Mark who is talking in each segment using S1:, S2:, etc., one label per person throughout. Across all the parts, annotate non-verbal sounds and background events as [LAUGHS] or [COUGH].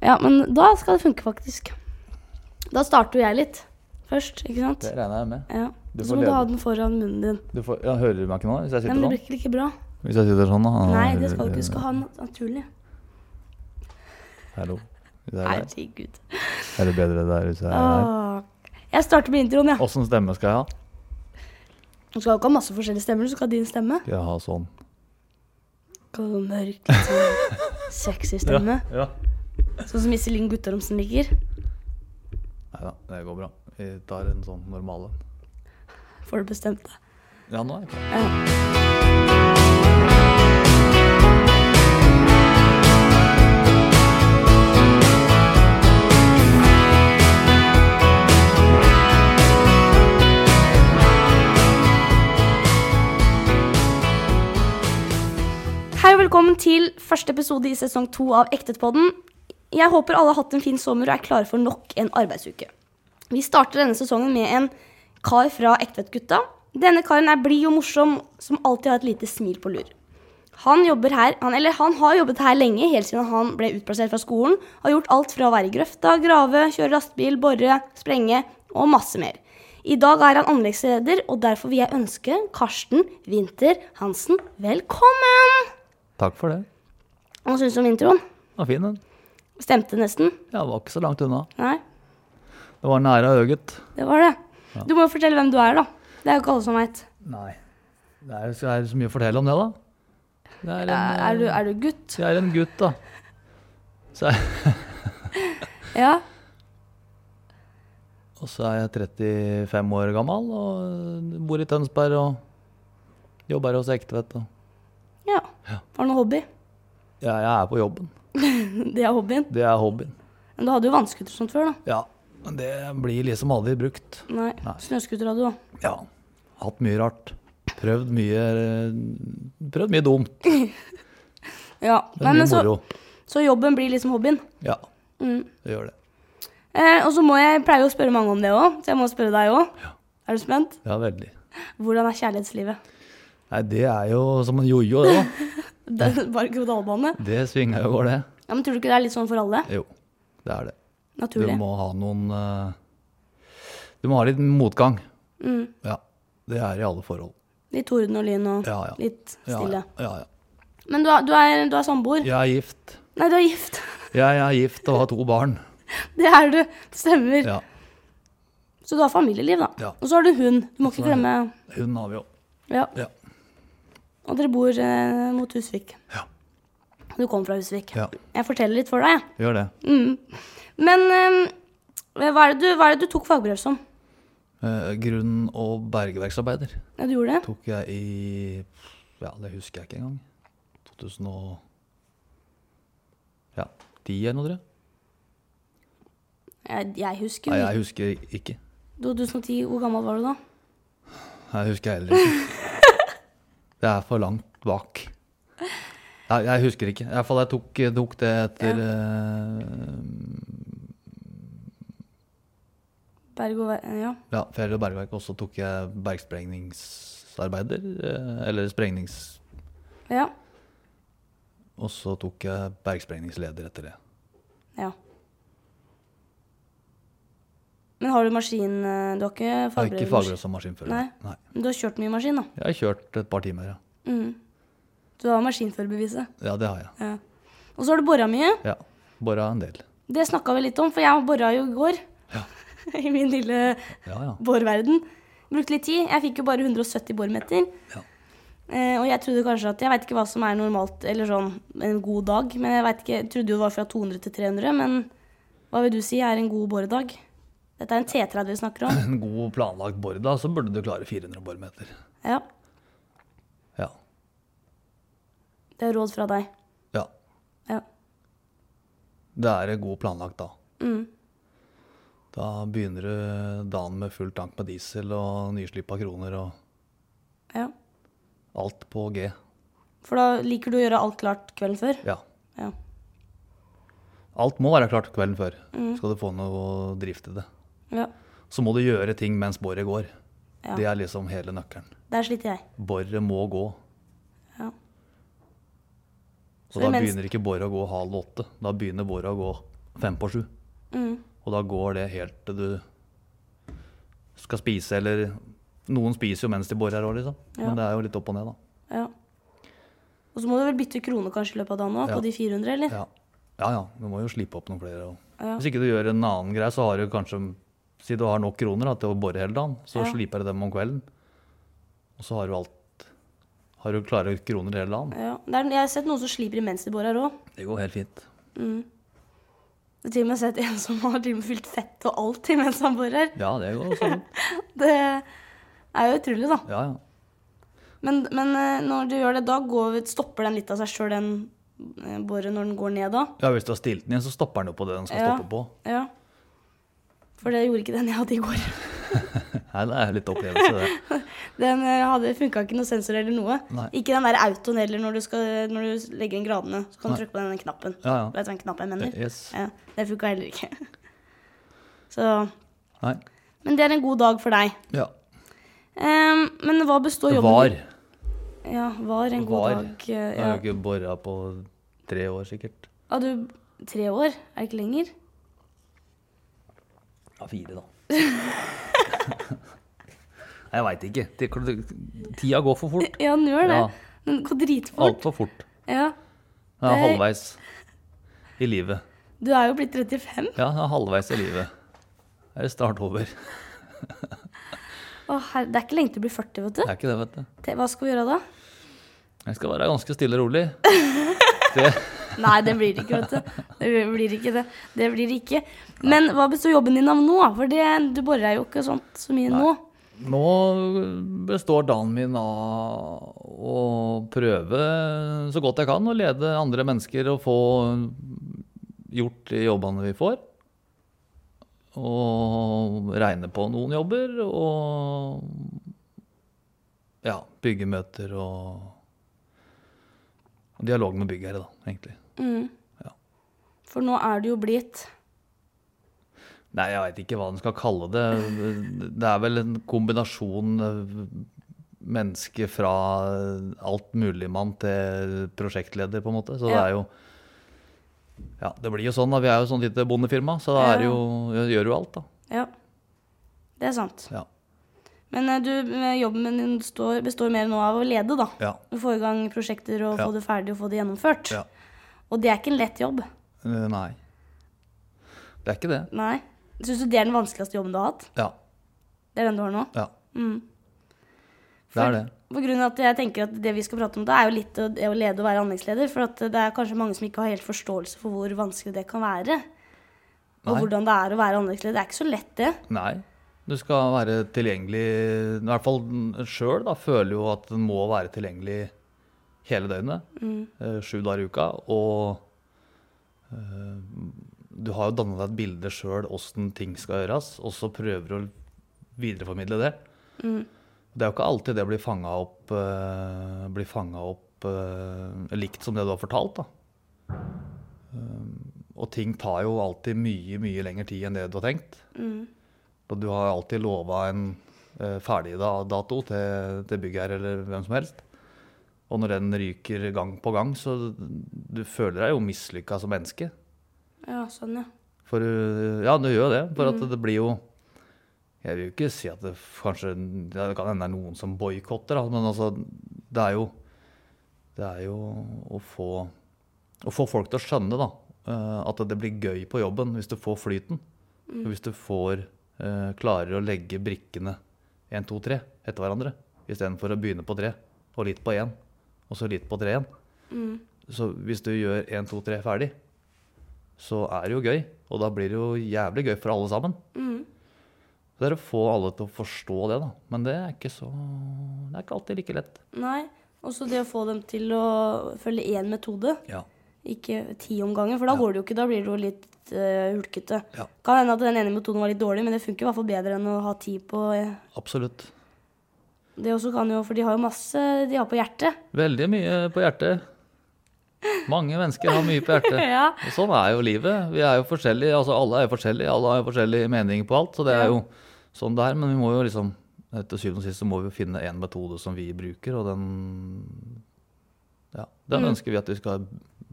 S1: Ja, men da skal det funke, faktisk. Da starter jo jeg litt først, ikke sant?
S2: Det regner jeg med.
S1: Ja. Og
S2: Du får
S1: Så må du
S2: lede.
S1: ha den foran munnen din.
S2: Du får, ja, hører du meg ikke nå? Hvis
S1: Nei,
S2: jeg sitter
S1: men det
S2: sånn?
S1: blir ikke like bra.
S2: Hvis jeg sitter sånn, da?
S1: Nei, det skal du ikke. Du skal ha den naturlig.
S2: Hallo. Hvis jeg Er,
S1: Herregud.
S2: der. er det bedre der ute? her?
S1: Åh. Jeg starter med introen, ja.
S2: Åssen stemme skal jeg ha?
S1: Du skal jo ikke ha masse forskjellige stemmer, du skal ha din stemme.
S2: Skal jeg ha sånn?
S1: Skal du ha Mørk, [LAUGHS] litt sånn sexy stemme.
S2: Ja.
S1: Sånn som Iselin Guttormsen liker.
S2: Nei da, det går bra. Vi tar en sånn normal en.
S1: Får du bestemt deg.
S2: Ja, nå er jeg klar.
S1: Hei og velkommen til første episode i sesong to av Ektetpodden. Jeg håper alle har hatt en fin sommer og er klare for nok en arbeidsuke. Vi starter denne sesongen med en kar fra Ektvedtgutta. Denne karen er blid og morsom, som alltid har et lite smil på lur. Han, jobber her, han, eller han har jobbet her lenge, helt siden han ble utplassert fra skolen. Har gjort alt fra å være i grøfta, grave, kjøre lastebil, bore, sprenge og masse mer. I dag er han anleggsleder, og derfor vil jeg ønske Karsten Winther Hansen velkommen!
S2: Takk for det.
S1: Hva syns du om introen?
S2: Den var fin, den.
S1: Stemte nesten?
S2: Ja, var ikke så langt unna.
S1: Nei,
S2: Det var nære øyet.
S1: det var det. Du må jo fortelle hvem du er, da. Det er jo ikke alle som veit.
S2: Nei. Det er, så er det så mye å fortelle om det, da. Det er en,
S1: Er, er, du- er du gutt?
S2: Jeg er en gutt, da. Så er,
S1: Ja.
S2: og så er jeg 35 år gammel og bor i Tønsberg og jobber hos Ektvedt. og-
S1: ja. Har du noen hobby? [LAUGHS]
S2: Ja, jeg er på jobben.
S1: Det er hobbyen.
S2: Det er hobbyen.
S1: Men du hadde jo vannskuter og sånt før, da.
S2: Ja, men det blir liksom aldri brukt.
S1: Nei. Snøskuter hadde du òg.
S2: Ja. Hatt mye rart. Prøvd mye eh, Prøvd mye dumt. Det
S1: Ja.
S2: er
S1: Nei,
S2: mye
S1: men så,
S2: moro.
S1: så jobben blir liksom hobbyen. Mm.
S2: Ja, det gjør det.
S1: Eh, og så må jeg pleier jo å spørre mange om det òg, så jeg må spørre deg òg. Er du spent?
S2: Ja, veldig.
S1: Hvordan er kjærlighetslivet? [LAUGHS]
S2: Nei, det er jo som en jojo, det, da.
S1: Det er Bare grodalbane.
S2: Det svinger jo, går det.
S1: Ja, men tror du ikke det er litt sånn for alle?
S2: Jo, det er det. Du
S1: Naturlig.
S2: må ha noen eh, Du må ha litt motgang.
S1: Mm.
S2: Ja. Det er i alle forhold.
S1: Litt torden og lyn og
S2: Ja, ja.
S1: litt
S2: Ja,
S1: stille.
S2: Ja, ja, ja.
S1: Men du er, du er, du er samboer?
S2: Jeg er gift.
S1: Nei, du er gift. [LAUGHS]
S2: Jeg er gift og har to barn.
S1: Det er du. Det stemmer.
S2: Ja.
S1: Så du har familieliv, da.
S2: Ja.
S1: Og så har du hund. Du må ikke
S2: har jeg
S1: glemme
S2: Hun har vi jo.
S1: Ja.
S2: Ja.
S1: Og dere bor eh, mot Husvik.
S2: Ja.
S1: Du kommer fra Husvik.
S2: ja.
S1: Jeg forteller litt for deg, jeg. Mm.
S2: Gjør det.
S1: Men eh, hva, er det du, hva er det du tok fagbrev som?
S2: Eh, grunn- og bergverksarbeider
S1: Ja, du gjorde det?
S2: tok jeg i Ja, det husker jeg ikke engang. 2000 og Ja, 10 eller noe, tror jeg.
S1: Jeg, jeg husker
S2: Nei,
S1: jo
S2: jeg husker ikke.
S1: 2010. Hvor gammel var du da?
S2: Jeg husker heller ikke. [LAUGHS] Det er for langt bak. Jeg, jeg husker ikke. I hvert fall jeg tok, tok det etter eh,
S1: Berg og Ver- Ja.
S2: eh, ja, Fjell- og bergverk, og så tok jeg bergsprengningsarbeider. eh, Eller sprengnings...
S1: Ja.
S2: Og så tok jeg bergsprengningsleder etter det.
S1: ja. Men har du maskin eh, Du har ikke
S2: Jeg har
S1: fagbrev?
S2: ikke
S1: i maskin?
S2: fagbrev som maskinfører.
S1: Nei.
S2: Nei.
S1: Men Du har kjørt mye maskin, da. Mm.
S2: Jeg har kjørt et par timer, ja.
S1: Du har maskinførerbeviset.
S2: Ja, det har jeg.
S1: Ja. Og så har du bora mye.
S2: Ja. Bora en del.
S1: Det snakka vi litt om, for jeg bora jo i går. [LAUGHS] I min lille
S2: Ja, ja.
S1: borverden. Brukte litt tid. Jeg fikk jo bare 170 bormeter.
S2: Ja.
S1: Eh, og jeg trodde kanskje at Jeg veit ikke hva som er normalt eller sånn en god dag. Men jeg vet ikke, jeg trodde jo det var fra 200 til 300. Men hva vil du si er en god boredag? Dette er en T30 vi snakker
S2: [LAUGHS]
S1: om.
S2: En god planlagt bor, da, så burde du klare 400 boremeter.
S1: Ja,
S2: Ja.
S1: Det er råd fra deg.
S2: ja.
S1: Ja.
S2: Det er god planlagt da.
S1: Mm.
S2: Da begynner du dagen med full tank med diesel og nyslippa kroner og
S1: ja.
S2: alt på G.
S1: For da liker du å gjøre alt klart kvelden før.
S2: Ja.
S1: Ja.
S2: Alt må være klart kvelden før.
S1: Mm.
S2: Skal du få noe drift i det.
S1: ja.
S2: Så må du gjøre ting mens boret går.
S1: Ja.
S2: Det er liksom hele nøkkelen.
S1: Der sliter jeg.
S2: Boret må gå.
S1: Ja.
S2: Og
S1: Så
S2: da
S1: mens-
S2: begynner ikke boret å gå halv åtte. Da begynner boret å gå fem på sju.
S1: Mm,
S2: Og da går det helt til du skal spise, eller Noen spiser jo mens de borer her òg, liksom.
S1: Ja.
S2: Men det er jo litt opp og ned, da.
S1: Ja. Og så må du vel bytte krone kanskje i løpet av dagen òg,
S2: Ja.
S1: på de 400, eller?
S2: Ja. ja ja, du må jo slippe opp noen flere. Og.
S1: Ja.
S2: Hvis ikke du gjør en annen greie, så har du kanskje Si du har nok kroner da, til å bore hele dagen, så
S1: Ja.
S2: sliper du dem om kvelden. Og så har du alt Har du klare kroner hele dagen.
S1: Ja. Det er, jeg har sett noen som sliper imens de borer her òg.
S2: Det går helt fint.
S1: Jeg har til og med sett en som har til og med fylt fett og alt imens han borer.
S2: Ja, det går også. sånn.
S1: Det er jo utrolig, da.
S2: Ja, ja.
S1: Men, men eh, når du gjør det, da går, stopper den litt av seg sjøl, den eh, boret, når den går ned da?
S2: Ja, Hvis du har stilt den igjen, så stopper den jo på det den skal
S1: Ja.
S2: stoppe på.
S1: Ja. For det gjorde ikke den jeg hadde i går.
S2: Nei, Det er litt opplevelse, det.
S1: Den eh, hadde funka ikke noe sensor eller noe.
S2: Nei.
S1: Ikke den der autoen heller, når du, skal, når du legger inn gradene. Så kan du
S2: Nei.
S1: trykke på den knappen.
S2: Ja, ja.
S1: Vet du hva en sånn knapp jeg mener?
S2: Yes.
S1: Ja, det funka heller ikke. [LAUGHS] Så
S2: Nei.
S1: Men det er en god dag for deg.
S2: Ja.
S1: Ehm, men hva består
S2: Det
S1: jobben
S2: var.
S1: din- Ja, var en god
S2: Var.
S1: dag. eh,
S2: Jeg har jo
S1: Ja.
S2: ikke bora på tre år, sikkert.
S1: ja, du Tre år? Er det ikke lenger? [LAUGHS]
S2: Ja, fire, da. Nei, jeg veit ikke. Det- Tida går for fort.
S1: Ja, den gjør det.
S2: Ja.
S1: Den går dritfort.
S2: Altfor fort.
S1: Ja.
S2: Jeg er
S1: Nei.
S2: halvveis i livet.
S1: Du er jo blitt 35.
S2: Ja, jeg er halvveis i livet. Det er snart over. Det
S1: Å, herre, det er ikke lenge til du blir 40, vet du.
S2: er ikke det, vet du.
S1: Te- Hva skal vi gjøre da?
S2: Jeg skal være ganske stille og
S1: [LAUGHS]
S2: rolig.
S1: Nei, det blir det ikke, vet du. Det blir ikke det. Det blir det ikke. Men hva består jobben din av nå? For det, du borer jo ikke sånt så mye nå.
S2: Nå består dagen min av å prøve så godt jeg kan å lede andre mennesker og få gjort de jobbene vi får. Og regne på noen jobber og ja, bygge møter og og dialog med byggherre, da, egentlig.
S1: Mm.
S2: Ja.
S1: For nå er du jo blitt
S2: Nei, jeg veit ikke hva den skal kalle det. Det er vel en kombinasjon eh, menneske fra alt muligmann til prosjektleder, på en måte. Så det
S1: Ja.
S2: er jo Ja, det blir jo sånn, da. Vi er jo sånn lite bondefirma, så da er det jo jeg Gjør jo alt, da.
S1: Ja. Det er sant.
S2: Ja.
S1: Men eh, du, eh, jobben din står, består mer nå av å lede, da.
S2: Ja.
S1: Få i gang prosjekter og
S2: Ja.
S1: få det ferdig og få det gjennomført.
S2: Ja.
S1: Og det er ikke en lett jobb.
S2: Eh, Nei. Det er ikke det.
S1: Nei. Syns du det er den vanskeligste jobben du har hatt?
S2: Ja.
S1: Det er den du har nå?
S2: Ja.
S1: Mm.
S2: Det er det.
S1: På grunn av at jeg tenker at Det vi skal prate om da, er jo litt å- det å lede og være anleggsleder. For at det er kanskje mange som ikke har helt forståelse for hvor vanskelig det kan være. Og
S2: Nei.
S1: hvordan det er å være anleggsleder. Det er ikke så lett, det.
S2: Nei. Du skal være tilgjengelig I hvert fall sjøl føler jo at den må være tilgjengelig hele døgnet.
S1: Mm,
S2: eh, Sju dager i uka. Og eh, du har jo danna deg et bilde sjøl åssen ting skal gjøres, og så prøver du å videreformidle det.
S1: mm,
S2: Det er jo ikke alltid det blir fanga opp, eh, blir fanget opp eh, likt som det du har fortalt. da. Eh, og ting tar jo alltid mye, mye lengre tid enn det du har tenkt.
S1: mm.
S2: Og du har alltid lova en eh, ferdig da- dato til, til byggherre eller hvem som helst. Og når den ryker gang på gang, så du føler deg jo mislykka som menneske.
S1: Ja, sånn, ja.
S2: For eh, ja, du gjør jo det. For at det blir jo Jeg vil jo ikke si at det f- kanskje ja, Det kan hende det er noen som boikotter, da, men altså Det er jo Det er jo å få Å få folk til å skjønne, da. eh, At det blir gøy på jobben hvis du får flyten. Hvis du får eh, Klarer å legge brikkene én, to, tre etter hverandre. Istedenfor å begynne på tre, og litt på én, og så litt på tre igjen.
S1: Mm,
S2: Så hvis du gjør én, to, tre ferdig, så er det jo gøy. Og da blir det jo jævlig gøy for alle sammen.
S1: mm.
S2: Så det er å få alle til å forstå det, da. Men det er ikke så Det er ikke alltid like lett.
S1: Nei. Og så det å få dem til å følge én metode,
S2: Ja.
S1: ikke ti om gangen. For da går det jo ikke. Da blir det jo litt eh, hulkete.
S2: Ja.
S1: Kan hende at den ene metoden var litt dårlig, men det funker i hvert fall bedre enn å ha ti på eh,
S2: Absolutt.
S1: Det også kan jo, for de har jo masse de har på hjertet.
S2: Veldig mye på hjertet. Mange mennesker har mye på hjertet.
S1: [LAUGHS] Ja.
S2: Og sånn er jo livet. Vi er jo forskjellige. Altså, alle er jo forskjellige. Alle har jo forskjellig mening på alt. Så det er jo sånn det er. Men vi må jo liksom Til syvende og sist så må vi jo finne en metode som vi
S1: Mm.
S2: bruker, og den Ja. Den ønsker vi at vi skal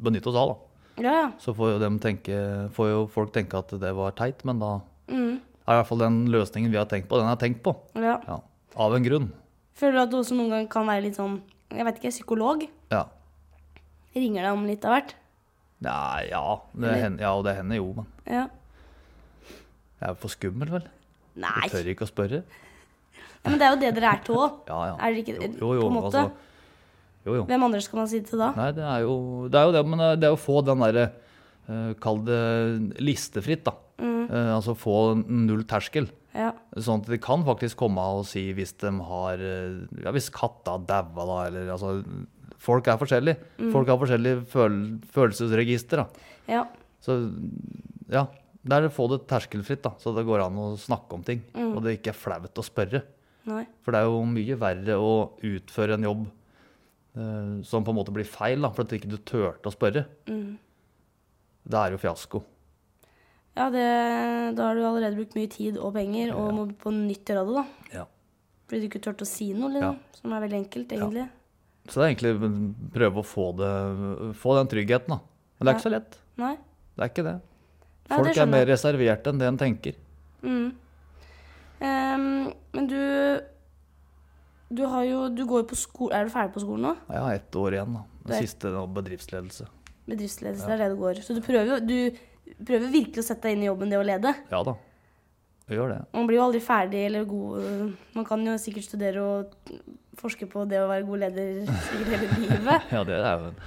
S2: benytte oss av, da.
S1: Ja, ja.
S2: Så får jo, dem tenke, får jo folk tenke at det var teit, men da
S1: Mm.
S2: er i hvert fall den løsningen vi har tenkt på, den er tenkt på.
S1: ja.
S2: Ja. Av en grunn.
S1: Føler du at du også noen gang kan være litt sånn Jeg vet ikke, psykolog?
S2: Ja.
S1: Ringer deg om litt av hvert?
S2: Nei, ja. Det
S1: Eller-
S2: hender, ja, og det hender jo, men
S1: Ja.
S2: jeg er for skummel, vel?
S1: Nei.
S2: Jeg tør ikke å spørre.
S1: Ja, men det er jo det dere er til òg.
S2: Ja, ja.
S1: Er dere ikke
S2: Jo, jo,
S1: På en måte.
S2: altså. Jo, jo.
S1: Hvem andre skal man si det til da?
S2: Nei, det er jo det, er jo det men eh, det er- det er å få den derre eh, Kall det listefritt, da. Eh, altså få null terskel.
S1: Mm, Ja.
S2: Sånn at de kan faktisk komme og si hvis de har eh, Ja, hvis katta daua, da, eller altså Folk er forskjellige.
S1: Mm.
S2: Folk har forskjellige føl følelsesregister, da.
S1: ja.
S2: Så ja. Det er å få det terskelfritt, da, så det går an å snakke om ting.
S1: Mm.
S2: Og det ikke er flaut å spørre.
S1: Nei.
S2: For det er jo mye verre å utføre en jobb eh, som på en måte blir feil, da, for at ikke du turte å spørre.
S1: Mm.
S2: Det er jo fiasko.
S1: Ja, det, da har du allerede brukt mye tid og penger og må på nytt gjøre det, da.
S2: Ja.
S1: Fordi du ikke turte å si noe, liksom. Som er veldig enkelt, egentlig.
S2: Så det er egentlig mm, prøve å få, det, få den tryggheten, da. Men det er ikke så lett.
S1: Nei.
S2: Det er ikke det.
S1: Nei,
S2: Folk
S1: det
S2: er
S1: skjønner
S2: mer reserverte enn det en tenker.
S1: Mm. Ehm, men du Du har jo Du går jo på skole Er du ferdig på skolen nå?
S2: Jeg har ett år igjen, da.
S1: Det
S2: Det
S1: er-
S2: siste nå, bedriftsledelse.
S1: Bedriftsledelse, det er det du går. Så du prøver jo Du prøver virkelig å sette deg inn i jobben det å lede.
S2: Ja da. Jeg gjør det.
S1: Man blir jo aldri ferdig eller god øh, Man kan jo sikkert studere og forske på det å være god leder sikkert hele livet. [LAUGHS]
S2: Ja, det, er jo en,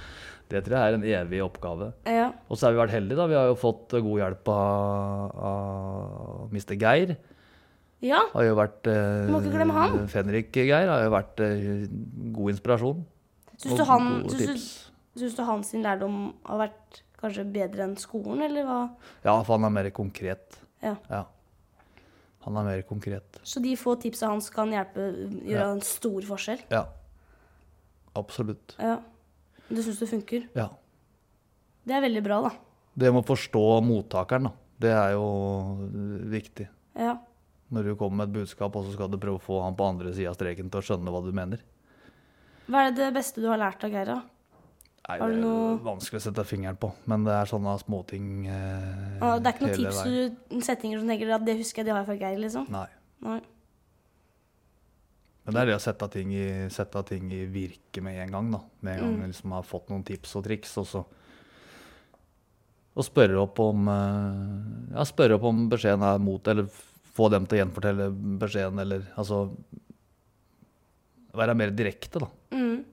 S2: det tror jeg er en evig oppgave.
S1: Ja.
S2: Og så har vi vært heldige, da. Vi har jo fått god hjelp av, av Mr. Geir.
S1: ja.
S2: har jo vært eh,
S1: Du må ikke glemme han.
S2: Fenrik Geir har jo vært eh, god inspirasjon.
S1: Syns
S2: og
S1: du han
S2: gode
S1: syns du,
S2: tips.
S1: syns du hans sin lærdom har vært kanskje bedre enn skolen, eller hva?
S2: Ja, for han er mer konkret.
S1: Ja.
S2: Ja. Han er mer konkret.
S1: Så de få tipsa hans kan hjelpe, gjøre
S2: Ja.
S1: en stor forskjell?
S2: Ja. Absolutt.
S1: Ja. Du syns det funker?
S2: Ja.
S1: Det er veldig bra, da.
S2: Det med å forstå mottakeren, da. Det er jo eh, viktig.
S1: Ja.
S2: Når du kommer med et budskap, og så skal du prøve å få han på andre sida av streken til å skjønne hva du mener.
S1: Hva er det beste du har lært av Geira?
S2: Nei,
S1: Har
S2: det
S1: du
S2: er
S1: noe-
S2: vanskelig å sette fingeren på, men det er sånne småting eh,
S1: Ah, Det er ikke noen
S2: hele
S1: tips
S2: veien.
S1: du setninger som tenker at det husker jeg de har fra Geir, liksom?
S2: Nei.
S1: Nei.
S2: Men det er det å sette ting i, sette ting i virke med en gang, da. Med en gang
S1: Mm.
S2: jeg liksom har fått noen tips og triks, og så Og spørre opp om eh, Ja, spørre opp om beskjeden er mot, eller f- få dem til å gjenfortelle beskjeden, eller altså Være mer direkte, da.
S1: Mm.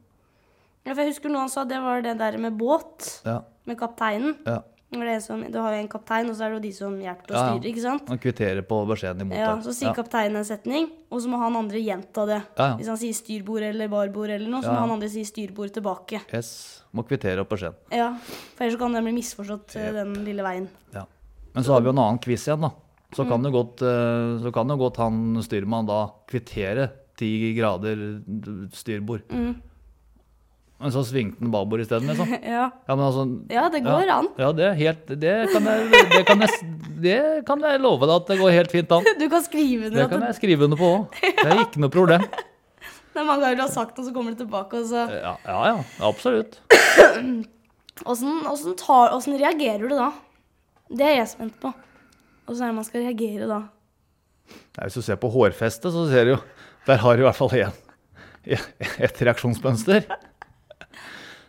S1: Ja, for jeg husker noe han sa, det var det der med båt,
S2: Ja.
S1: med kapteinen.
S2: ja.
S1: Hvor det er som, du har jo en kaptein, og så er det jo de som hjelper å
S2: Ja, ja.
S1: styre, ikke sant?
S2: Og kvittere på beskjeden imot
S1: Ja,
S2: deg.
S1: Så sier kapteinen en setning, og så må han andre gjenta det.
S2: Ja, ja.
S1: Hvis han sier styrbord eller barbord eller noe, så
S2: Ja,
S1: må
S2: ja.
S1: han andre si styrbord tilbake.
S2: Yes. Må kvittere opp beskjeden.
S1: Ja, For ellers så kan den bli misforstått, eh, den lille veien.
S2: Ja. Men så har vi jo en annen quiz igjen, da. Så
S1: Mm.
S2: kan jo godt, eh, så kan jo godt han styrmannen da kvittere ti grader styrbord.
S1: Mm.
S2: Men så svingte han babord isteden,
S1: [LAUGHS]
S2: liksom.
S1: Ja,
S2: Ja, men altså
S1: ja det går an.
S2: Ja, det, er helt, det, kan jeg, det, kan jeg, det kan jeg love deg at det går helt fint an.
S1: Du kan skrive ned
S2: Det
S1: at
S2: kan
S1: det,
S2: jeg skrive under på òg. Det er ikke noe problem.
S1: det er mange ganger du har sagt noe, så kommer det tilbake, og så
S2: Ja, ja, ja absolutt.
S1: Åssen åssen tar- åssen reagerer du da? Det er jeg spent på. Åssen er det man skal reagere da?
S2: Nei, hvis du ser på hårfestet, så ser du jo Der har du i hvert fall én. Et reaksjonsmønster.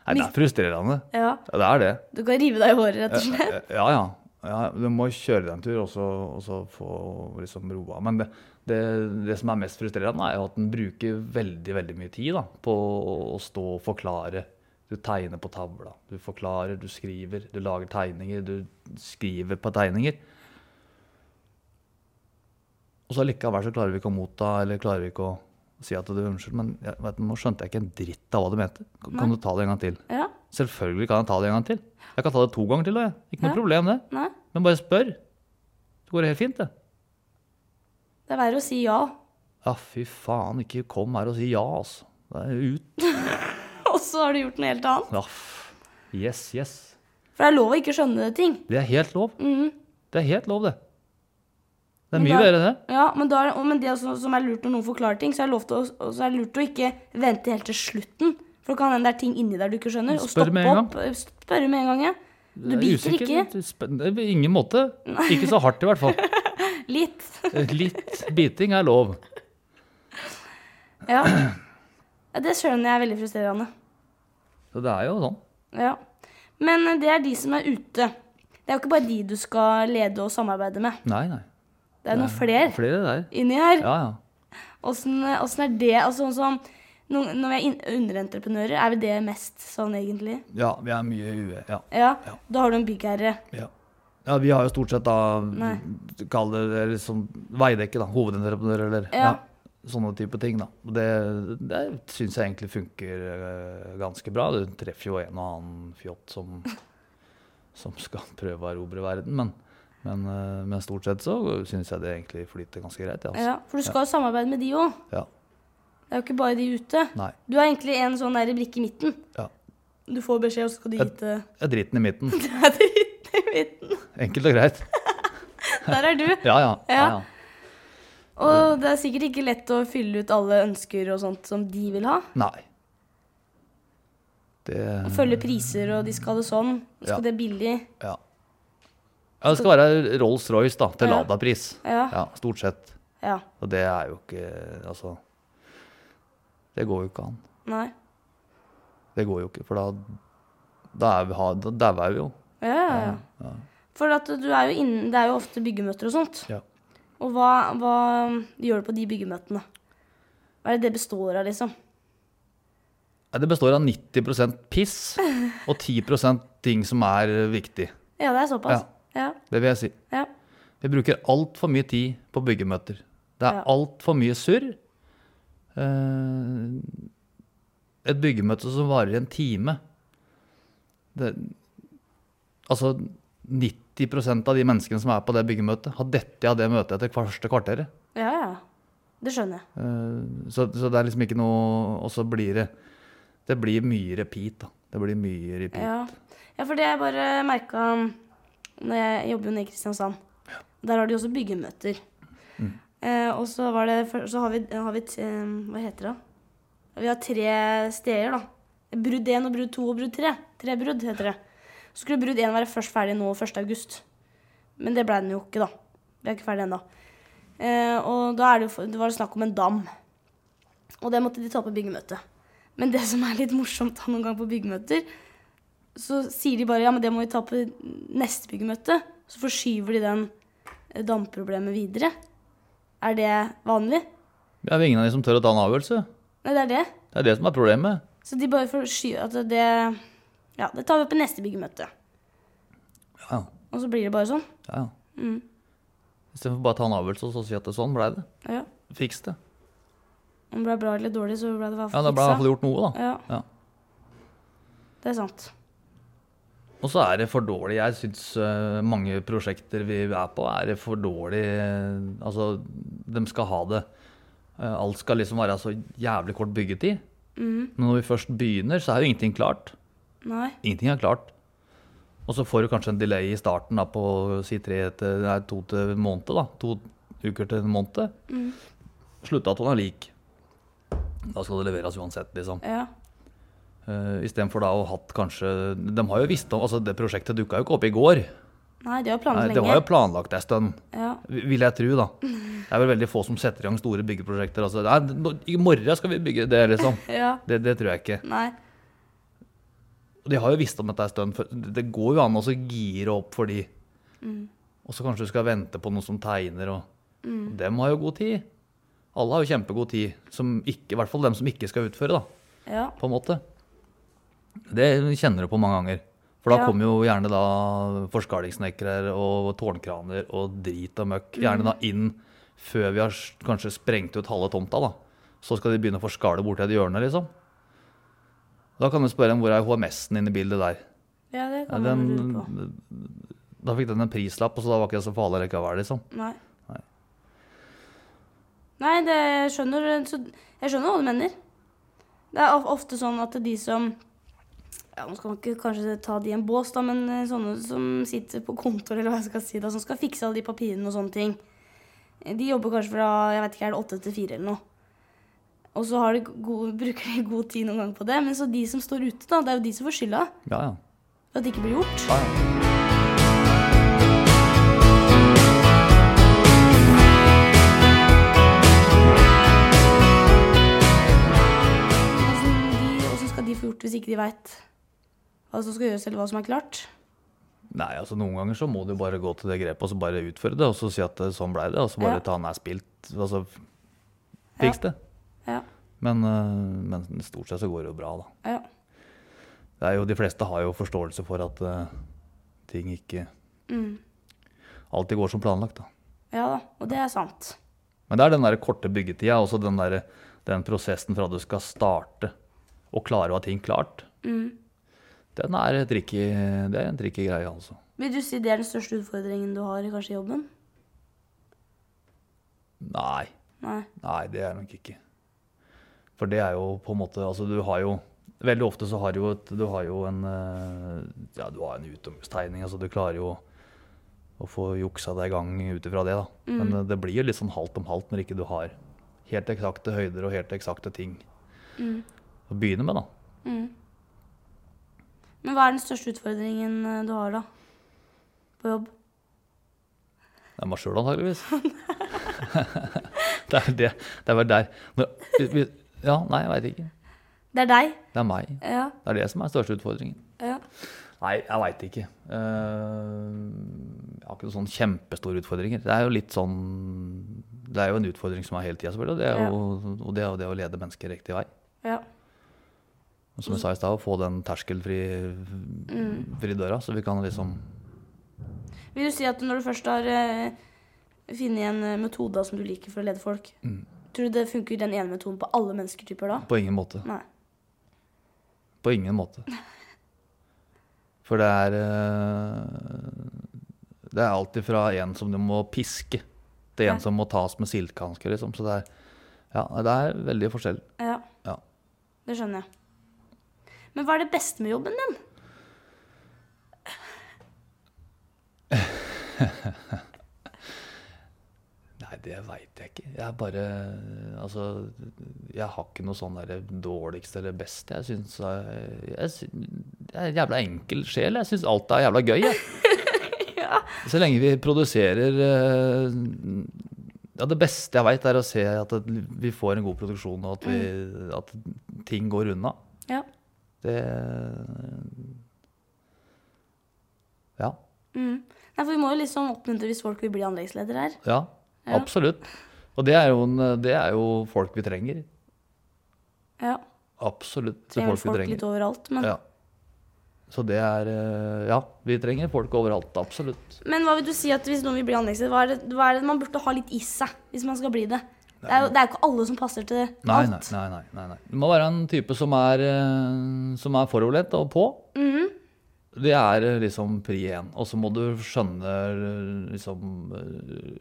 S2: Nei, det er frustrerende.
S1: Ja,
S2: Ja, det er det.
S1: Du kan rive deg i håret, rett og slett.
S2: Eh, Ja, ja. ja du må kjøre deg en tur og så, og så få liksom roa. Men det, det, det som er mest frustrerende, er jo at den bruker veldig veldig mye tid da, på å, å stå og forklare. Du tegner på tavla. Du forklarer, du skriver, du lager tegninger. Du skriver på tegninger. Og så likevel så klarer vi ikke å motta, eller klarer vi ikke å si at du unnskyld, men jeg, vet, du, nå skjønte jeg ikke en dritt av hva du mente. Kan, kan du ta det en gang til?
S1: Ja,
S2: Selvfølgelig kan jeg ta det en gang til. Jeg kan ta det to ganger til. også, Jeg. Ikke noe
S1: Ja.
S2: problem, det.
S1: nei.
S2: Men bare spør. Så går det helt fint, det.
S1: Det er verre å si ja, [LAUGHS]
S2: Ja, fy faen, ikke kom her og si ja, altså. Det er ut.
S1: og så har du gjort noe helt annet.
S2: Ja, f- yes, yes.
S1: For det er lov å ikke skjønne ting.
S2: Det er helt lov.
S1: Mhm.
S2: Det er helt lov, det. Det er
S1: Men
S2: mye
S1: da-
S2: verre, det.
S1: Ja, men, da, er det- og- men det også, som er lurt når noen forklarer ting, så er, det lov til å, og så er det lurt å ikke vente helt til slutten. For det kan hende det er ting inni der du ikke skjønner. Og
S2: Spør
S1: stoppe
S2: med en
S1: opp. Spørre med en gang. ja. Du biter ikke?
S2: ikke? På ingen måte. Ikke så hardt, i hvert fall.
S1: Litt. [LAUGHS]
S2: Litt biting er lov.
S1: Ja. Det skjønner jeg er veldig frustrerende.
S2: Så det er jo sånn.
S1: Ja. Men eh, det er de som er ute. Det er jo ikke bare de du skal lede og samarbeide med.
S2: Nei, nei.
S1: Det er noen
S2: Det er
S1: flere
S2: Flere der.
S1: inni her.
S2: Ja, ja.
S1: Åssen åssen er det altså, sånn som, noen- Når vi er in- underentreprenører, er vel det mest sånn egentlig?
S2: Ja, vi er mye ue. Ja.
S1: Ja.
S2: Ja.
S1: Da har du en byggherre.
S2: ja. Ja, Vi har jo stort sett da
S1: Nei.
S2: Kall det eller liksom veidekke, da. Hovedentreprenør eller
S1: Ja.
S2: sånne type ting. da. Og Det, det syns jeg egentlig funker eh, ganske bra. Du treffer jo en og annen fjott som, [LAUGHS] som skal prøve å erobre verden, men, men, eh, men stort sett så syns jeg det egentlig flyter ganske greit. Ja, altså.
S1: Ja. For du skal jo samarbeide med de òg.
S2: ja.
S1: Det er jo ikke bare de ute.
S2: Nei.
S1: Du er egentlig en sånn der brikke i midten.
S2: Ja.
S1: Du får beskjed, og så skal du eh, gi [LAUGHS]
S2: Et-
S1: til
S2: Det er dritten i midten. [LAUGHS]
S1: Det er dritt i midten.
S2: Enkelt og greit.
S1: Der er du.
S2: Ja, ja. ja,
S1: Ja.
S2: ja.
S1: Og det er sikkert ikke lett å fylle ut alle ønsker og sånt som de vil ha.
S2: Nei. Det
S1: Og følge priser, og de skal ha det sånn. De skal
S2: Ja.
S1: det billig.
S2: Ja. ja det skal være Rolls-Royce da, til
S1: Ja.
S2: Lada-pris.
S1: Ja.
S2: Ja, stort sett.
S1: ja.
S2: Og det er jo ikke Altså. Det går jo ikke an.
S1: Nei.
S2: Det går jo ikke, for da da er vi, ha- da dauer vi jo.
S1: Ja, ja, ja. For at du er jo innen, det er jo ofte byggemøter og sånt.
S2: Ja.
S1: Og hva, hva gjør du på de byggemøtene? Hva er det det består av, liksom?
S2: Nei, Det består av 90 piss og 10 ting som er viktig.
S1: Ja, det er såpass. Ja.
S2: Det vil jeg si.
S1: Ja.
S2: Vi bruker altfor mye tid på byggemøter. Det er
S1: Ja.
S2: altfor mye surr. Eh, et byggemøte som varer en time det, Altså 90 av de menneskene som er på det byggemøtet, har dette av det møtet etter første kvarteret.
S1: ja, ja. ja. Det skjønner jeg.
S2: Eh, så, så det er liksom ikke noe Og så blir det Det blir mye repeat, da. Det blir mye repeat.
S1: Ja, ja for det jeg bare merka når Jeg jobber jo nede i Kristiansand. Der har de også byggemøter. Eh, og så, var det, for- så har vi, har vi t, eh, Hva heter det? Vi har tre steder, da. Brudd 1 og brudd 2 og brudd 3. Tre brudd heter det. Så skulle brudd 1 være først ferdig nå 1. august. Men det ble den jo ikke, da. Vi er ikke ferdig ennå. Eh, og da er det, jo for- det var det snakk om en dam. Og det måtte de ta på byggemøtet. Men det som er litt morsomt da noen gang på byggemøter, så sier de bare ja, men det må vi ta på neste byggemøte. Så forskyver de den eh, damproblemet videre. Er det vanlig?
S2: Det er jo ingen av de som tør å ta en avgjørelse.
S1: Nei, det er det.
S2: Det er det som er problemet.
S1: Så de bare forskyver at det Ja, det tar vi på neste byggemøte.
S2: Ja,
S1: Og så blir det bare sånn.
S2: ja. ja. Istedenfor bare å ta en avgjørelse og så si at det sånn blei det.
S1: Ja, ja.
S2: Fiks det.
S1: Om det ble bra eller dårlig, så ble det i hvert
S2: Ja,
S1: fall
S2: da ble det i hvert
S1: fiksa.
S2: fall gjort noe, da.
S1: Ja,
S2: Ja.
S1: det er sant.
S2: Og så er det for dårlig. Jeg syns eh, mange prosjekter vi er på, er det for dårlig eh, Altså, de skal ha det eh, Alt skal liksom være så jævlig kort byggetid. Men når vi først begynner, så er jo ingenting klart.
S1: Mm. Nei.
S2: Ingenting er klart. Og så får du kanskje en delay i starten da, på si tre til, nei, to til en måned. Da. To uker til en måned. Sluttdatoen er lik. Da skal det leveres uansett, liksom.
S1: Ja.
S2: Uh, Istedenfor da å ha hatt kanskje De har jo visst om altså Det prosjektet dukka jo ikke opp i går.
S1: Nei, de har
S2: Nei,
S1: planlagt
S2: det
S1: Sånn lenge.
S2: var jo planlagt en stund,
S1: Ja.
S2: vi- vil jeg tro, da. Det er vel veldig få som setter i gang store byggeprosjekter. Altså, nei, nå- I morgen skal vi bygge det, liksom.
S1: ja.
S2: Det, det tror jeg ikke.
S1: Nei.
S2: Og de har jo visst om dette en stund. for det- Det går jo an å så gire opp for de. Og så kanskje du skal vente på noen som tegner, og og dem har jo god tid. Alle har jo kjempegod tid. Som ikke, I hvert fall dem som ikke skal utføre, da.
S1: Ja.
S2: på en måte. Det kjenner du på mange ganger. For da
S1: Ja.
S2: kommer jo gjerne da forskalingssnekkere og tårnkraner og drit og møkk
S1: Mm.
S2: gjerne da inn før vi har s- kanskje sprengt ut halve tomta. da. Så skal de begynne å forskale borti et hjørne, liksom. Da kan du spørre om hvor er HMS-en inne i bildet der.
S1: ja, det
S2: Ja,
S1: kan man
S2: den,
S1: lure på.
S2: da fikk den en prislapp, og så da var ikke det så farlig likevel, liksom.
S1: Nei.
S2: Nei.
S1: Nei, det jeg skjønner så, Jeg skjønner hva du mener. Det er of- ofte sånn at de som ja, Nå skal man ikke kanskje ta de i en bås, da, men eh, sånne som sitter på kontor, eller hva jeg skal si, da, som skal fikse alle de papirene og sånne ting. Eh, De jobber kanskje fra jeg vet ikke, er det åtte til fire eller noe. Og så har de go- bruker de god tid noen ganger på det. Men så de som står ute, da, det er jo de som får skylda.
S2: Ja, ja.
S1: for at det ikke blir gjort.
S2: Ja, ja.
S1: Hvordan de, hvordan skal de få gjort hvis ikke de veit hva som skal gjøres, eller hva som er klart?
S2: Nei, altså Noen ganger så må du bare gå til det grepet og så bare utføre det, og så si at eh, sånn ble det, og så
S1: Ja.
S2: bare ta den er spilt. Altså, f- fiks det.
S1: Ja.
S2: Men, eh, men stort sett så går det jo bra, da.
S1: ja.
S2: Det er jo, de fleste har jo forståelse for at eh, ting ikke
S1: Mm.
S2: alltid går som planlagt. Da.
S1: Ja da, og det er sant.
S2: Men det er den der korte byggetida, også den, der, den prosessen fra du skal starte og klare å ha ting klart.
S1: Mm.
S2: Den er et tricky, det er en tricky greie, altså.
S1: Vil du si det er den største utfordringen du har kanskje i jobben?
S2: Nei,
S1: Nei.
S2: nei, det er nok ikke. For det er jo på en måte Altså, du har jo Veldig ofte så har du jo, et, du har jo en eh, Ja, du har en utomhustegning, altså du klarer jo å få juksa deg i gang ut ifra det, da. Men eh, det blir jo litt sånn halvt om halvt når ikke du har helt eksakte høyder og helt eksakte ting å begynne med, da.
S1: Mm. Men hva er den største utfordringen eh, du har, da? På jobb?
S2: Det er meg sjøl, antageligvis. [LAUGHS] det er det. Det er vel der Når, vi- Ja, nei, jeg veit ikke.
S1: Det er deg?
S2: Det er meg.
S1: Ja.
S2: Det er det som er den største utfordringen.
S1: ja.
S2: Nei, jeg veit ikke. Eh, jeg har ikke noen sånn kjempestore utfordringer. Det er jo litt sånn Det er jo en utfordring som er hele tida, selvfølgelig. Og det er jo, og det, er jo det å lede mennesker riktig vei.
S1: ja.
S2: Og som jeg sa i stad, å få den terskelfri fri døra, så vi kan liksom
S1: Vil du si at når du først har eh, funnet en eh, metode da som du liker for å lede folk, tror du det funker den ene metoden på alle mennesketyper da?
S2: På ingen måte.
S1: Nei.
S2: På ingen måte. For det er eh, Det er alltid fra en som du må piske, til
S1: Ja.
S2: en som må tas med silkehansker, liksom. Så det er, ja, det er veldig forskjell.
S1: Ja,
S2: Ja.
S1: det skjønner jeg. Men hva er det beste med jobben din?
S2: Nei, det veit jeg ikke. Jeg er bare Altså, jeg har ikke noe sånn derre dårligst eller best. Jeg syns jeg, jeg, sy- jeg er en jævla enkel sjel. Jeg syns alt er jævla gøy, jeg. Så lenge vi produserer eh, Ja, det beste jeg veit, er å se at det- vi får en god produksjon, og at, vi, at ting går unna.
S1: Ja.
S2: Det Ja.
S1: Mm. Nei, for vi må jo liksom oppmuntre hvis folk vil bli anleggsleder her.
S2: Ja,
S1: Ja.
S2: absolutt. Og det er, jo en, det er jo folk vi trenger.
S1: Ja.
S2: Absolutt
S1: Trenger
S2: folk vi
S1: folk litt
S2: trenger.
S1: overalt, men...
S2: Ja. Så det er eh, Ja, vi trenger folk overalt. Absolutt.
S1: Men hva vil du si at hvis noen vil bli anleggsleder, hva er, det, hva er det man burde ha litt i seg hvis man skal bli det? Det er jo det er jo ikke alle som passer til
S2: Nei, nei,
S1: alt.
S2: nei. nei, nei, nei. Du må være en type som er, eh, som er foroverlent og på.
S1: Mm-hmm.
S2: Det er eh, liksom pri én. Og så må du skjønne eh, liksom eh,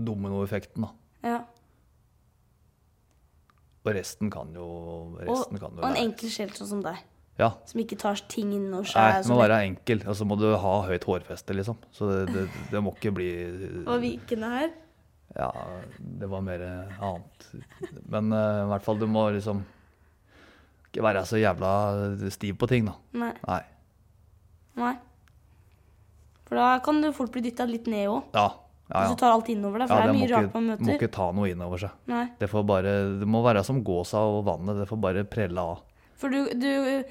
S2: dominoeffekten, da.
S1: Ja.
S2: Og resten kan jo
S1: Og,
S2: resten kan jo
S1: og en
S2: være-
S1: enkel sjel sånn som deg,
S2: Ja,
S1: som ikke tar ting innover
S2: Nei,
S1: seg.
S2: du må være enkel. Og så må du ha høyt hårfeste, liksom. Så det, det, det må ikke bli eh,
S1: Og vikene her.
S2: Ja, det var mer eh, annet. Men eh, i hvert fall, du må liksom ikke være så jævla stiv på ting, da.
S1: Nei.
S2: Nei.
S1: nei. For da kan du fort bli dytta litt ned òg.
S2: Ja, ja.
S1: Hvis du
S2: ja.
S1: tar alt innover deg, Altså, for
S2: ja
S1: det er
S2: det må
S1: mye rart
S2: ikke,
S1: man
S2: må
S1: møter.
S2: ikke ta noe inn over seg.
S1: Nei.
S2: Det, får bare, det må være som gåsa og vannet, det får bare prelle av.
S1: For du, du eh,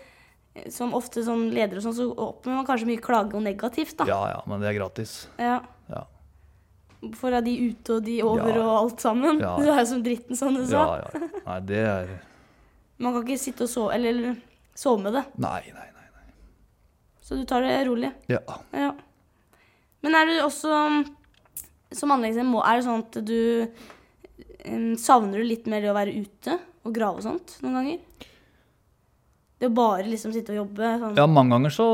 S1: som ofte som leder og sånn, så opplever man kanskje mye klage og negativt, da.
S2: Ja ja, men det er gratis.
S1: Ja.
S2: Ja.
S1: For er de ute og de over
S2: Ja.
S1: og alt sammen.
S2: Ja.
S1: [LAUGHS] Det er jo som dritten, som du sa.
S2: Ja, ja. Nei, det er
S1: Man kan ikke sitte og sove, eller, eller sove med det.
S2: Nei, nei, nei. nei.
S1: Så du tar det rolig.
S2: Ja.
S1: Ja. Men er du også mm, Som anleggsleder, må- er det sånn at du em, Savner du litt mer det å være ute og grave og sånt noen ganger? Det å bare liksom sitte og jobbe sånn.
S2: Ja, mange ganger så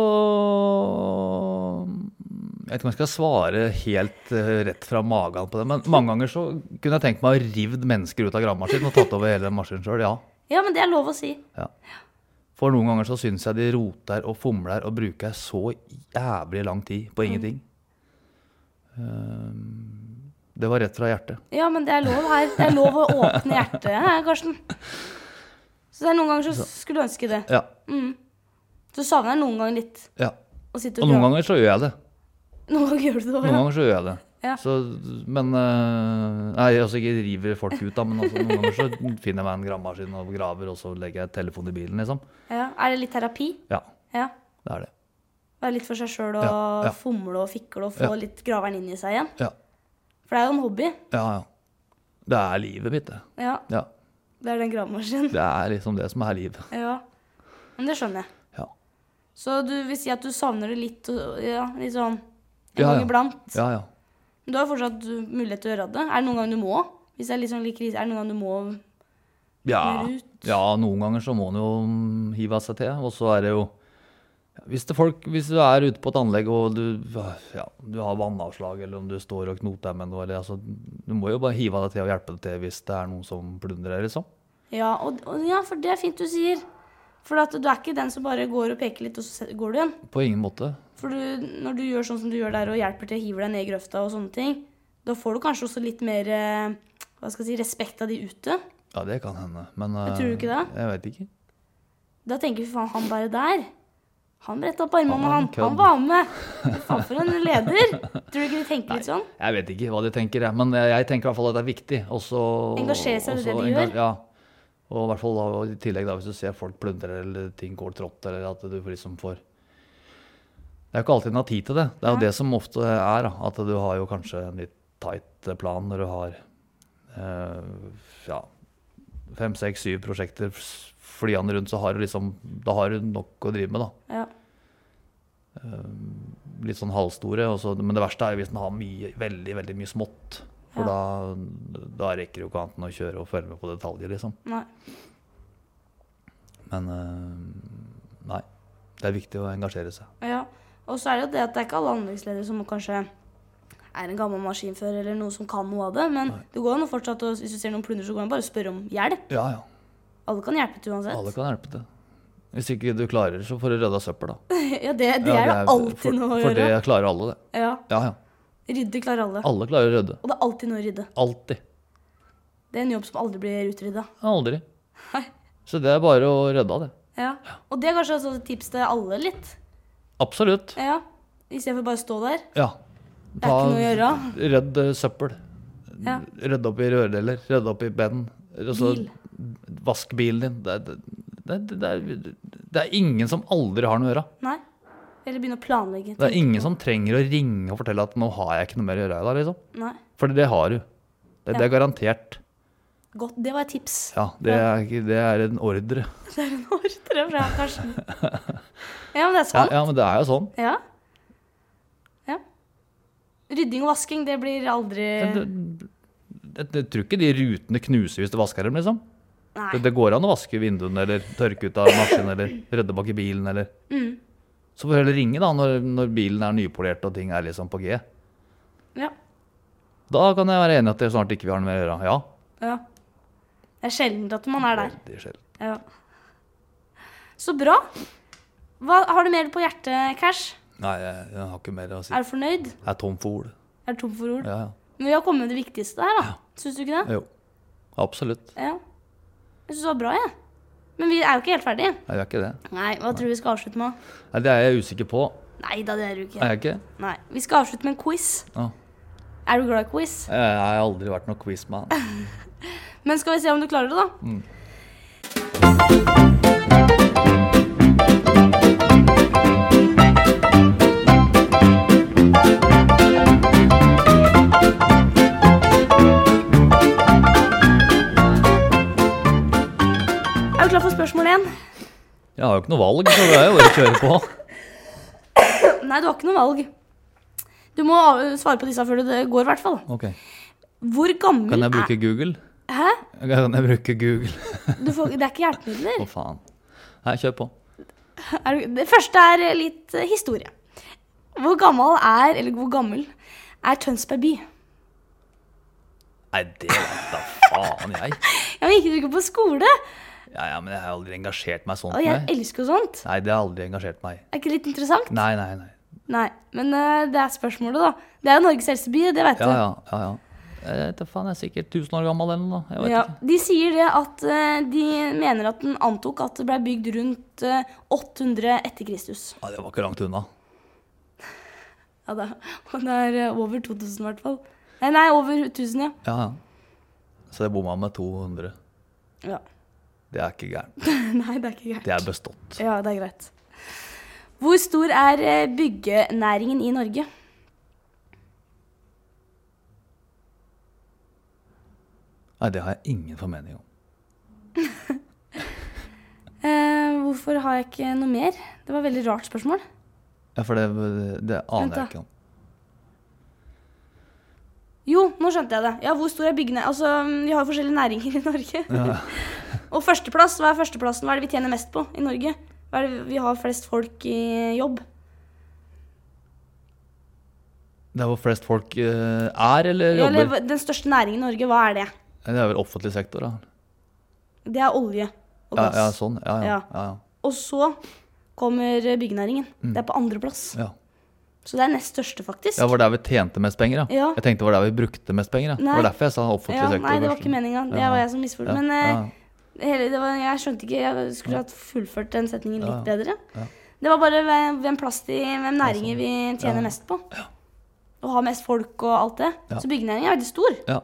S2: Jeg vet ikke om jeg skal svare helt eh, rett fra magen på det, men mange ganger så kunne jeg tenkt meg å rivd mennesker ut av gravemaskinen og tatt over hele maskinen sjøl, ja.
S1: Ja, men det er lov å si.
S2: ja. For noen ganger så syns jeg de roter og fomler og bruker så jævlig lang tid på ingenting. Eh, Det var rett fra hjertet.
S1: Ja, men det er lov her. Det er lov å åpne hjertet her, Karsten. Så det er noen ganger så skulle du ønske det.
S2: Ja.
S1: Så du savner noen ganger litt
S2: Ja.
S1: å sitte
S2: Og
S1: og
S2: noen
S1: prate?
S2: ganger så gjør jeg det.
S1: [LAUGHS] Noen ganger gjør du det også,
S2: Noen
S1: ja.
S2: ganger så gjør jeg det.
S1: Ja.
S2: Så, men eh, Nei, altså ikke river folk ut, da, men altså, noen ganger så finner jeg meg en gravemaskin og graver, og så legger jeg telefonen i bilen, liksom.
S1: ja. Er det litt terapi?
S2: Ja,
S1: Ja.
S2: det er det.
S1: Være litt for seg sjøl og
S2: Ja, ja.
S1: fomle og fikle og få
S2: Ja.
S1: litt graveren inn i seg igjen?
S2: Ja,
S1: For det er jo en hobby.
S2: ja. ja. Det er livet mitt, det.
S1: Ja,
S2: Ja.
S1: det er den gravemaskinen.
S2: Det er liksom det som er livet.
S1: Ja. Men det skjønner jeg.
S2: Ja.
S1: Så du vil si at du savner det litt, og- ja, litt sånn en
S2: Ja,
S1: gang
S2: ja.
S1: iblant?
S2: Ja, ja.
S1: Men Du har fortsatt uh, mulighet til å gjøre det. Er det noen gang du må? Hvis det er litt sånn litt krise, er det noen gang du må
S2: Ja,
S1: Kommer ut.
S2: ja noen ganger så må en jo mm, hive av seg til. Og så er det jo ja, hvis, det folk, hvis du er ute på et anlegg og du, ja, du har vannavslag, eller om du står og knoter deg med noe eller, altså, Du må jo bare hive av deg til og hjelpe deg til hvis det er noen som plundrer, liksom.
S1: Ja, og, og, ja for det er fint du sier. For at du er ikke den som bare går og peker litt, og så se- går du igjen.
S2: På ingen måte.
S1: For du, når du gjør sånn som du gjør der, og hjelper til, hiver deg ned i grøfta og sånne ting, da får du kanskje også litt mer eh, hva skal jeg si, respekt av de ute.
S2: Ja, det kan hende, men eh,
S1: Jeg tror ikke det.
S2: Jeg vet ikke.
S1: Da tenker vi faen, han bare der. Han bretta opp armene,
S2: Han
S1: han.
S2: kødd.
S1: Han var med. Faen for en leder. Tror du ikke de tenker litt sånn?
S2: Jeg vet ikke hva de tenker, jeg, men jeg, jeg tenker i hvert fall at det er viktig. Og så-
S1: Engasjere seg i
S2: og
S1: det de
S2: så enga-
S1: gjør.
S2: Ja. Og i hvert fall da, og i tillegg da, hvis du ser folk plundre eller ting går trått, eller at du liksom får Det er jo ikke alltid en har tid til det. Det er jo
S1: Nei.
S2: det som ofte er, da, at du har jo kanskje en litt tight plan når du har eh, ja, fem, seks, syv prosjekter s- flyende rundt, så har du liksom Da har du nok å drive med, da.
S1: Ja.
S2: litt sånn halvstore. Og så, men det verste er jo hvis den har mye, veldig veldig mye smått. For da, da rekker jo ikke annet enn å kjøre og følge med på detaljer, liksom.
S1: Nei.
S2: Men eh, nei. Det er viktig å engasjere seg.
S1: Ja, og så er det jo det at det er ikke alle anleggsledere som kanskje er en gammel maskinfører eller noen som kan noe av det, men det går an å fortsatt, å- hvis du ser noen plunder, så går det an å bare å spørre om hjelp.
S2: Ja, ja.
S1: Alle kan hjelpe til uansett.
S2: Alle kan hjelpe til. Hvis ikke du klarer, så får du rydda søppel, da.
S1: ja, det, [LAUGHS] det
S2: Ja,
S1: er det alltid
S2: for,
S1: noe å
S2: For
S1: gjøre.
S2: det klarer alle, det.
S1: Ja,
S2: Ja, ja.
S1: Rydde klarer alle.
S2: Alle klarer å rydde.
S1: Og det er alltid noe å rydde.
S2: Alltid.
S1: Det er en jobb som aldri blir utrydda.
S2: Aldri. Så det er bare å rydde av det.
S1: Ja. Og det er kanskje også et tips til alle litt.
S2: Absolutt.
S1: Ja. Istedenfor bare å stå der.
S2: Ja.
S1: Det er ikke noe å gjøre.
S2: Redd eh, søppel.
S1: Ja.
S2: Rydde opp i rørdeler, rydde opp i beden. Altså,
S1: Bil.
S2: vask bilen din. Det, er- det, det, det, er, det er ingen som aldri har noe å gjøre.
S1: Nei. Eller begynne å planlegge.
S2: Det er ingen som trenger å ringe og fortelle at 'nå har jeg ikke noe mer å gjøre i dag', liksom.
S1: Nei.
S2: For det har du. Det, det er garantert.
S1: Godt. Det var et tips.
S2: Ja, det er, ikke- det er en ordre.
S1: [LAUGHS] Det er en ordre fra
S2: [LAUGHS]
S1: Karsten. Ja, men det er
S2: Ja,
S1: sant.
S2: ja, men det er jo sånn.
S1: Ja. ja. Rydding og vasking, det blir aldri
S2: Det, det, jeg tror ikke de rutene knuser hvis du vasker dem, liksom.
S1: Nei.
S2: Det, det går an å vaske vinduene eller tørke ut av maskinen eller redde bak i bilen eller
S1: Mm.
S2: Så får du heller ringe da når, når bilen er nypolert og ting er liksom på G.
S1: Ja.
S2: Da kan jeg være enig i at det snart ikke vi har noe mer å gjøre. Ja,
S1: ja. Det er sjelden at man er der.
S2: veldig sjelden.
S1: Ja. Så bra. Hva har du mer på hjertet, Cash?
S2: Nei, jeg, jeg har ikke mer å si.
S1: Er du fornøyd?
S2: Jeg er tom for ord.
S1: Er du tom for ord?
S2: Ja,
S1: Men vi har kommet med det viktigste her, da. Syns du ikke det?
S2: ja. Jo. Absolutt.
S1: Ja. Jeg syns det var bra, jeg. Men vi er jo ikke helt ferdige.
S2: Jeg gjør ikke det.
S1: Nei, hva tror du vi skal avslutte med?
S2: Nei, det er jeg usikker på.
S1: Nei da, det er du
S2: Er
S1: ikke.
S2: jeg ikke?
S1: Nei. Vi skal avslutte med en quiz.
S2: Ja.
S1: Er du glad i quiz?
S2: Jeg jeg har aldri vært noen quizman.
S1: Men skal vi se om du klarer det, da?
S2: Mm.
S1: Er du klar for spørsmål én?
S2: Jeg har jo ikke noe valg, så det er jo bare å kjøre på.
S1: Nei, du har ikke noe valg. Du må av- svare på disse før det går, i hvert fall.
S2: Ok.
S1: Hvor gammel
S2: Kan jeg bruke Google?
S1: er Hæ?
S2: Kan jeg bruke Google?
S1: Du får, det er ikke hjelpemidler.
S2: Å, faen. Nei, kjør på.
S1: Er du, det første er litt eh, historie. Hvor gammel er, eller hvor gammel, er Tønsberg by?
S2: Nei, det vet da faen jeg.
S1: Ja, men gikk du ikke på skole?
S2: Ja, ja, men jeg har aldri engasjert meg sånt.
S1: Og jeg
S2: Nei, Mm.
S1: elsker jo sånt.
S2: nei det har aldri engasjert meg.
S1: Er ikke det litt interessant?
S2: Nei, nei, nei.
S1: Nei, men eh, det er spørsmålet, da. Det er jo Norges eldste by, det vet
S2: Ja,
S1: du.
S2: ja, ja. ja. Jeg vet da faen, jeg er sikkert 1000 år gammel eller noe. da. Jeg vet
S1: Ja,
S2: ikke.
S1: de sier det at eh, de mener at den antok at det ble bygd rundt eh, 800 etter Kristus.
S2: Ja, det var ikke langt unna.
S1: Ja da. [LAUGHS] Og det er eh, over 2000 i hvert fall. Nei, nei, over 1000, ja.
S2: Ja, ja. Så jeg bomma med 200.
S1: ja. [LAUGHS]
S2: Det er ikke gærent.
S1: nei, det er ikke greit.
S2: Det er bestått.
S1: Ja, det er greit. Hvor stor er eh, byggenæringen i Norge?
S2: Nei, det har jeg ingen formening om.
S1: Eh, hvorfor har jeg ikke noe mer? Det var et veldig rart spørsmål.
S2: Ja, for det, det
S1: Vent
S2: aner
S1: da.
S2: jeg ikke om.
S1: Jo, nå skjønte jeg det. Ja, hvor stor er byggene? Altså, Vi har jo forskjellige næringer i Norge. [LAUGHS] og førsteplass, hva er førsteplassen? Hva er det vi tjener mest på i Norge? Hva er det vi har flest folk i jobb?
S2: Det er hvor flest folk eh, er eller
S1: Eller
S2: jobber.
S1: hva- den største næringen i Norge, hva er det?
S2: Det er vel offentlig sektor, da.
S1: Det er olje og
S2: Ja,
S1: gass.
S2: ja sånn. Ja, ja.
S1: Ja.
S2: ja,
S1: Og så kommer eh, byggenæringen. Det er på andreplass.
S2: Mm. ja. ja.
S1: Så det er nest største, faktisk.
S2: Ja, var der vi tjente mest penger, ja.
S1: Ja.
S2: Jeg tenkte var der vi brukte mest penger, ja. Det
S1: Nei.
S2: var derfor jeg sa offentlig
S1: Ja,
S2: sektor.
S1: nei, det var
S2: først.
S1: ikke meninga. Det
S2: Ja.
S1: var jeg som misforsto.
S2: Ja,
S1: Men eh,
S2: ja,
S1: hele, det var, jeg skjønte ikke Jeg skulle hatt fullført den setningen
S2: Ja,
S1: litt bedre.
S2: ja. sånn.
S1: Det var bare hvem, hvem plass til Hvem næringer vi tjener
S2: Ja.
S1: mest på. Og har mest folk og alt det.
S2: Ja.
S1: Så byggenæringen er veldig stor.
S2: ja.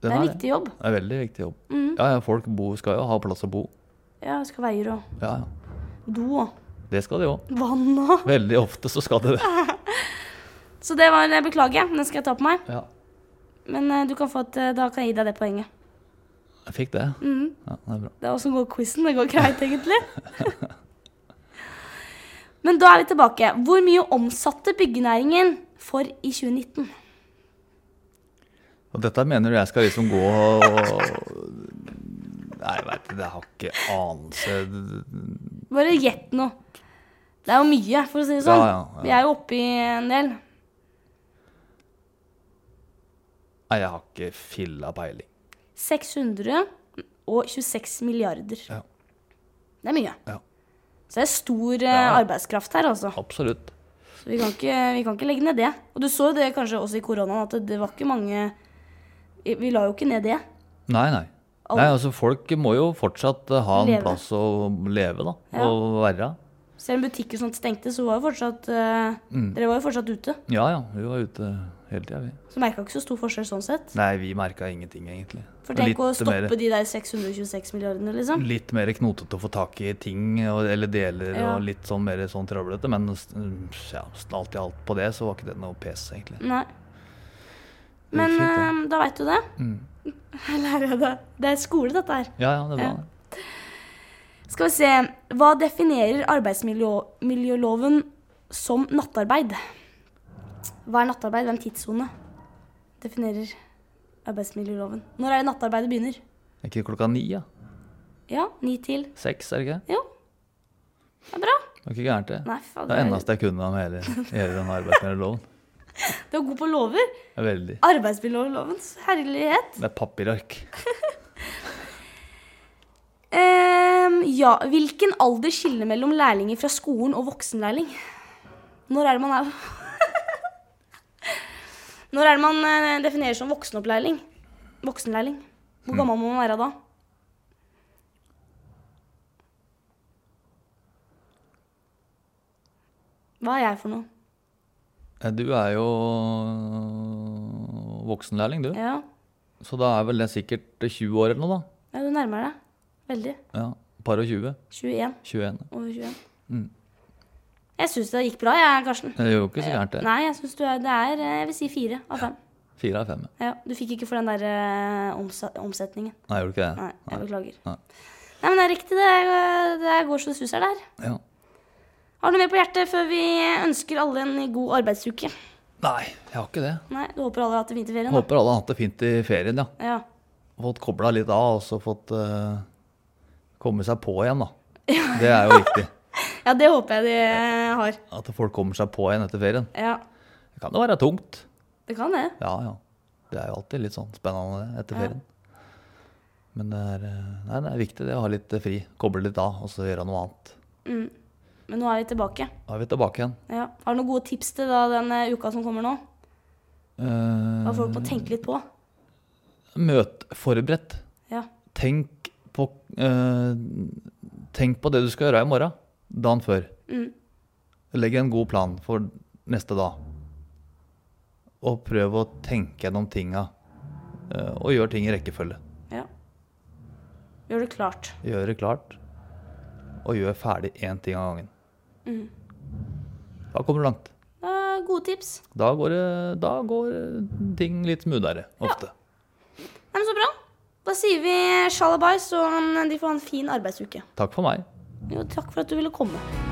S1: Det
S2: Den
S1: er en
S2: er det.
S1: viktig Mm. jobb.
S2: Det er en veldig viktig jobb. Ja, ja, folk bo, skal jo ha plass å bo.
S1: Ja, skal ha veier og
S2: Ja, ja.
S1: do og
S2: Det skal de òg.
S1: vann og
S2: Veldig ofte så skal de det.
S1: Så det var Beklager, den skal jeg ta på meg.
S2: Ja,
S1: Men eh, du kan få et eh, Da kan jeg gi deg det poenget.
S2: jeg fikk det.
S1: Mm.
S2: Ja, det er bra.
S1: Det er åssen går quizen? Det går greit, egentlig. [LAUGHS] Men da er vi tilbake. Hvor mye omsatte byggenæringen for i 2019?
S2: Og dette mener du jeg skal liksom gå og Nei, jeg veit ikke. Jeg har ikke anelse.
S1: Bare gjett noe. Det er jo mye, for å si det sånn.
S2: Ja, ja, ja.
S1: Vi er jo oppe i en del.
S2: Nei, jeg har ikke filla peiling.
S1: 626 milliarder.
S2: Ja.
S1: Det er mye.
S2: Ja.
S1: Så det er stor eh,
S2: Ja.
S1: arbeidskraft her, altså.
S2: Absolutt.
S1: Så vi kan, ikke, vi kan ikke legge ned det. Og du så jo det kanskje også i koronaen, at det var ikke mange Vi vi la jo ikke ned det.
S2: Nei, nei.
S1: Alle-
S2: Nei, altså Folk må jo fortsatt eh, ha en
S1: Leve.
S2: plass å leve, da.
S1: Ja.
S2: Og være.
S1: Selv om butikker og sånt stengte, så var jo fortsatt eh,
S2: Mm.
S1: Dere var jo fortsatt ute.
S2: Ja ja, vi var ute hele tida, vi.
S1: Så merka ikke så stor forskjell sånn sett.
S2: Nei, vi merka ingenting, egentlig.
S1: For tenk å stoppe
S2: mer,
S1: de der 626 milliardene, liksom.
S2: litt mer knotete å få tak i ting og, eller deler
S1: Ja.
S2: og litt sånn mer sånn trøblete, men s- mm, ja, alt i alt på det så var ikke det noe pes, egentlig.
S1: Nei.
S2: Det
S1: Men
S2: gikk fint, det. Mm.
S1: eh, da veit du det. [LAUGHS] Her lærer jeg det. Det er skole, dette her.
S2: ja, ja, det var
S1: ja.
S2: det.
S1: Skal vi se. Hva definerer arbeidsmiljøloven som nattarbeid? Hva er nattarbeid? Hvem tidssone definerer arbeidsmiljøloven? Når er det nattarbeidet begynner?
S2: Er ikke det klokka ni, ja?
S1: Ja, ni til
S2: Seks, er det ikke det?
S1: Jo. Det er bra.
S2: Det var ikke gærent, det.
S1: Nei, faen,
S2: Det er det eneste jeg kunne om hele, hele den arbeidsmiljøloven.
S1: Du er god på lover.
S2: Det er Veldig.
S1: Arbeidsmiljølovens herlighet.
S2: Det er papirark.
S1: Ehm, ja, hvilken alder skiller mellom lærlinger fra skolen og voksenlærling? Når er det man er [LAUGHS] Når er det man eh, definerer som voksenopplæring? Voksenlærling. Hvor gammel må man være da? Hva er jeg for noe?
S2: Eh, Du er jo voksenlærling, du.
S1: Ja,
S2: Så da er vel det sikkert 20 år eller noe,
S1: ja du nærmer deg. Veldig.
S2: da. Ja. Par og 20.
S1: 21
S2: 21.
S1: over 21. Jeg syns det gikk bra, jeg, Karsten.
S2: Mm. Det gjør jo ikke så gærent, det.
S1: Nei, jeg synes du er, det er eh, Jeg vil si fire av fem.
S2: Fire av fem. ja.
S1: Ja, du fikk ikke for den der eh, omsa- omsetningen.
S2: Nei, gjorde ikke
S1: Nei,
S2: det?
S1: jeg beklager.
S2: Nei.
S1: Nei, men det er riktig. Det, er, eh, det går så det suser der.
S2: Ja.
S1: Har du noe mer på hjertet før vi ønsker alle en god arbeidsuke?
S2: Nei, jeg har ikke det.
S1: Nei, du håper alle har hatt en fin ferie?
S2: Håper alle har hatt det fint i ferien, ja.
S1: Ja.
S2: Fått kobla litt av og så fått eh, komme seg på igjen,
S1: [LAUGHS]
S2: da. Det er jo viktig.
S1: ja, det håper jeg de eh, har.
S2: At folk kommer seg på igjen etter ferien.
S1: Ja,
S2: Det kan jo være tungt.
S1: det kan det.
S2: Ja, ja. Det er jo alltid litt sånn spennende det, etter
S1: Ja.
S2: ferien. Men det er, eh, nei, det er viktig det å ha litt eh, fri. Koble litt av og så gjøre noe annet.
S1: Men nå er vi tilbake.
S2: Da er vi tilbake igjen.
S1: Ja. Har du noen gode tips til da, den eh, uka som kommer nå? Hva
S2: Eh,
S1: folk må tenke litt på.
S2: møt forberedt.
S1: Ja.
S2: Tenk på, eh, tenk på det du skal gjøre i morgen, dagen før.
S1: Mm.
S2: Legg en god plan for neste dag. Og prøv å tenke gjennom tinga. eh, Og gjør ting i rekkefølge.
S1: ja. Gjør det klart.
S2: Gjør det klart. Og gjør ferdig én ting av gangen. Da kommer du langt.
S1: Det er gode tips.
S2: Da går, det, da går eh, ting litt smoothere ofte.
S1: Nei, men Så bra. Da sier vi sjalabais, og han- de får ha en fin arbeidsuke.
S2: Takk for meg.
S1: Jo, takk for at du ville komme.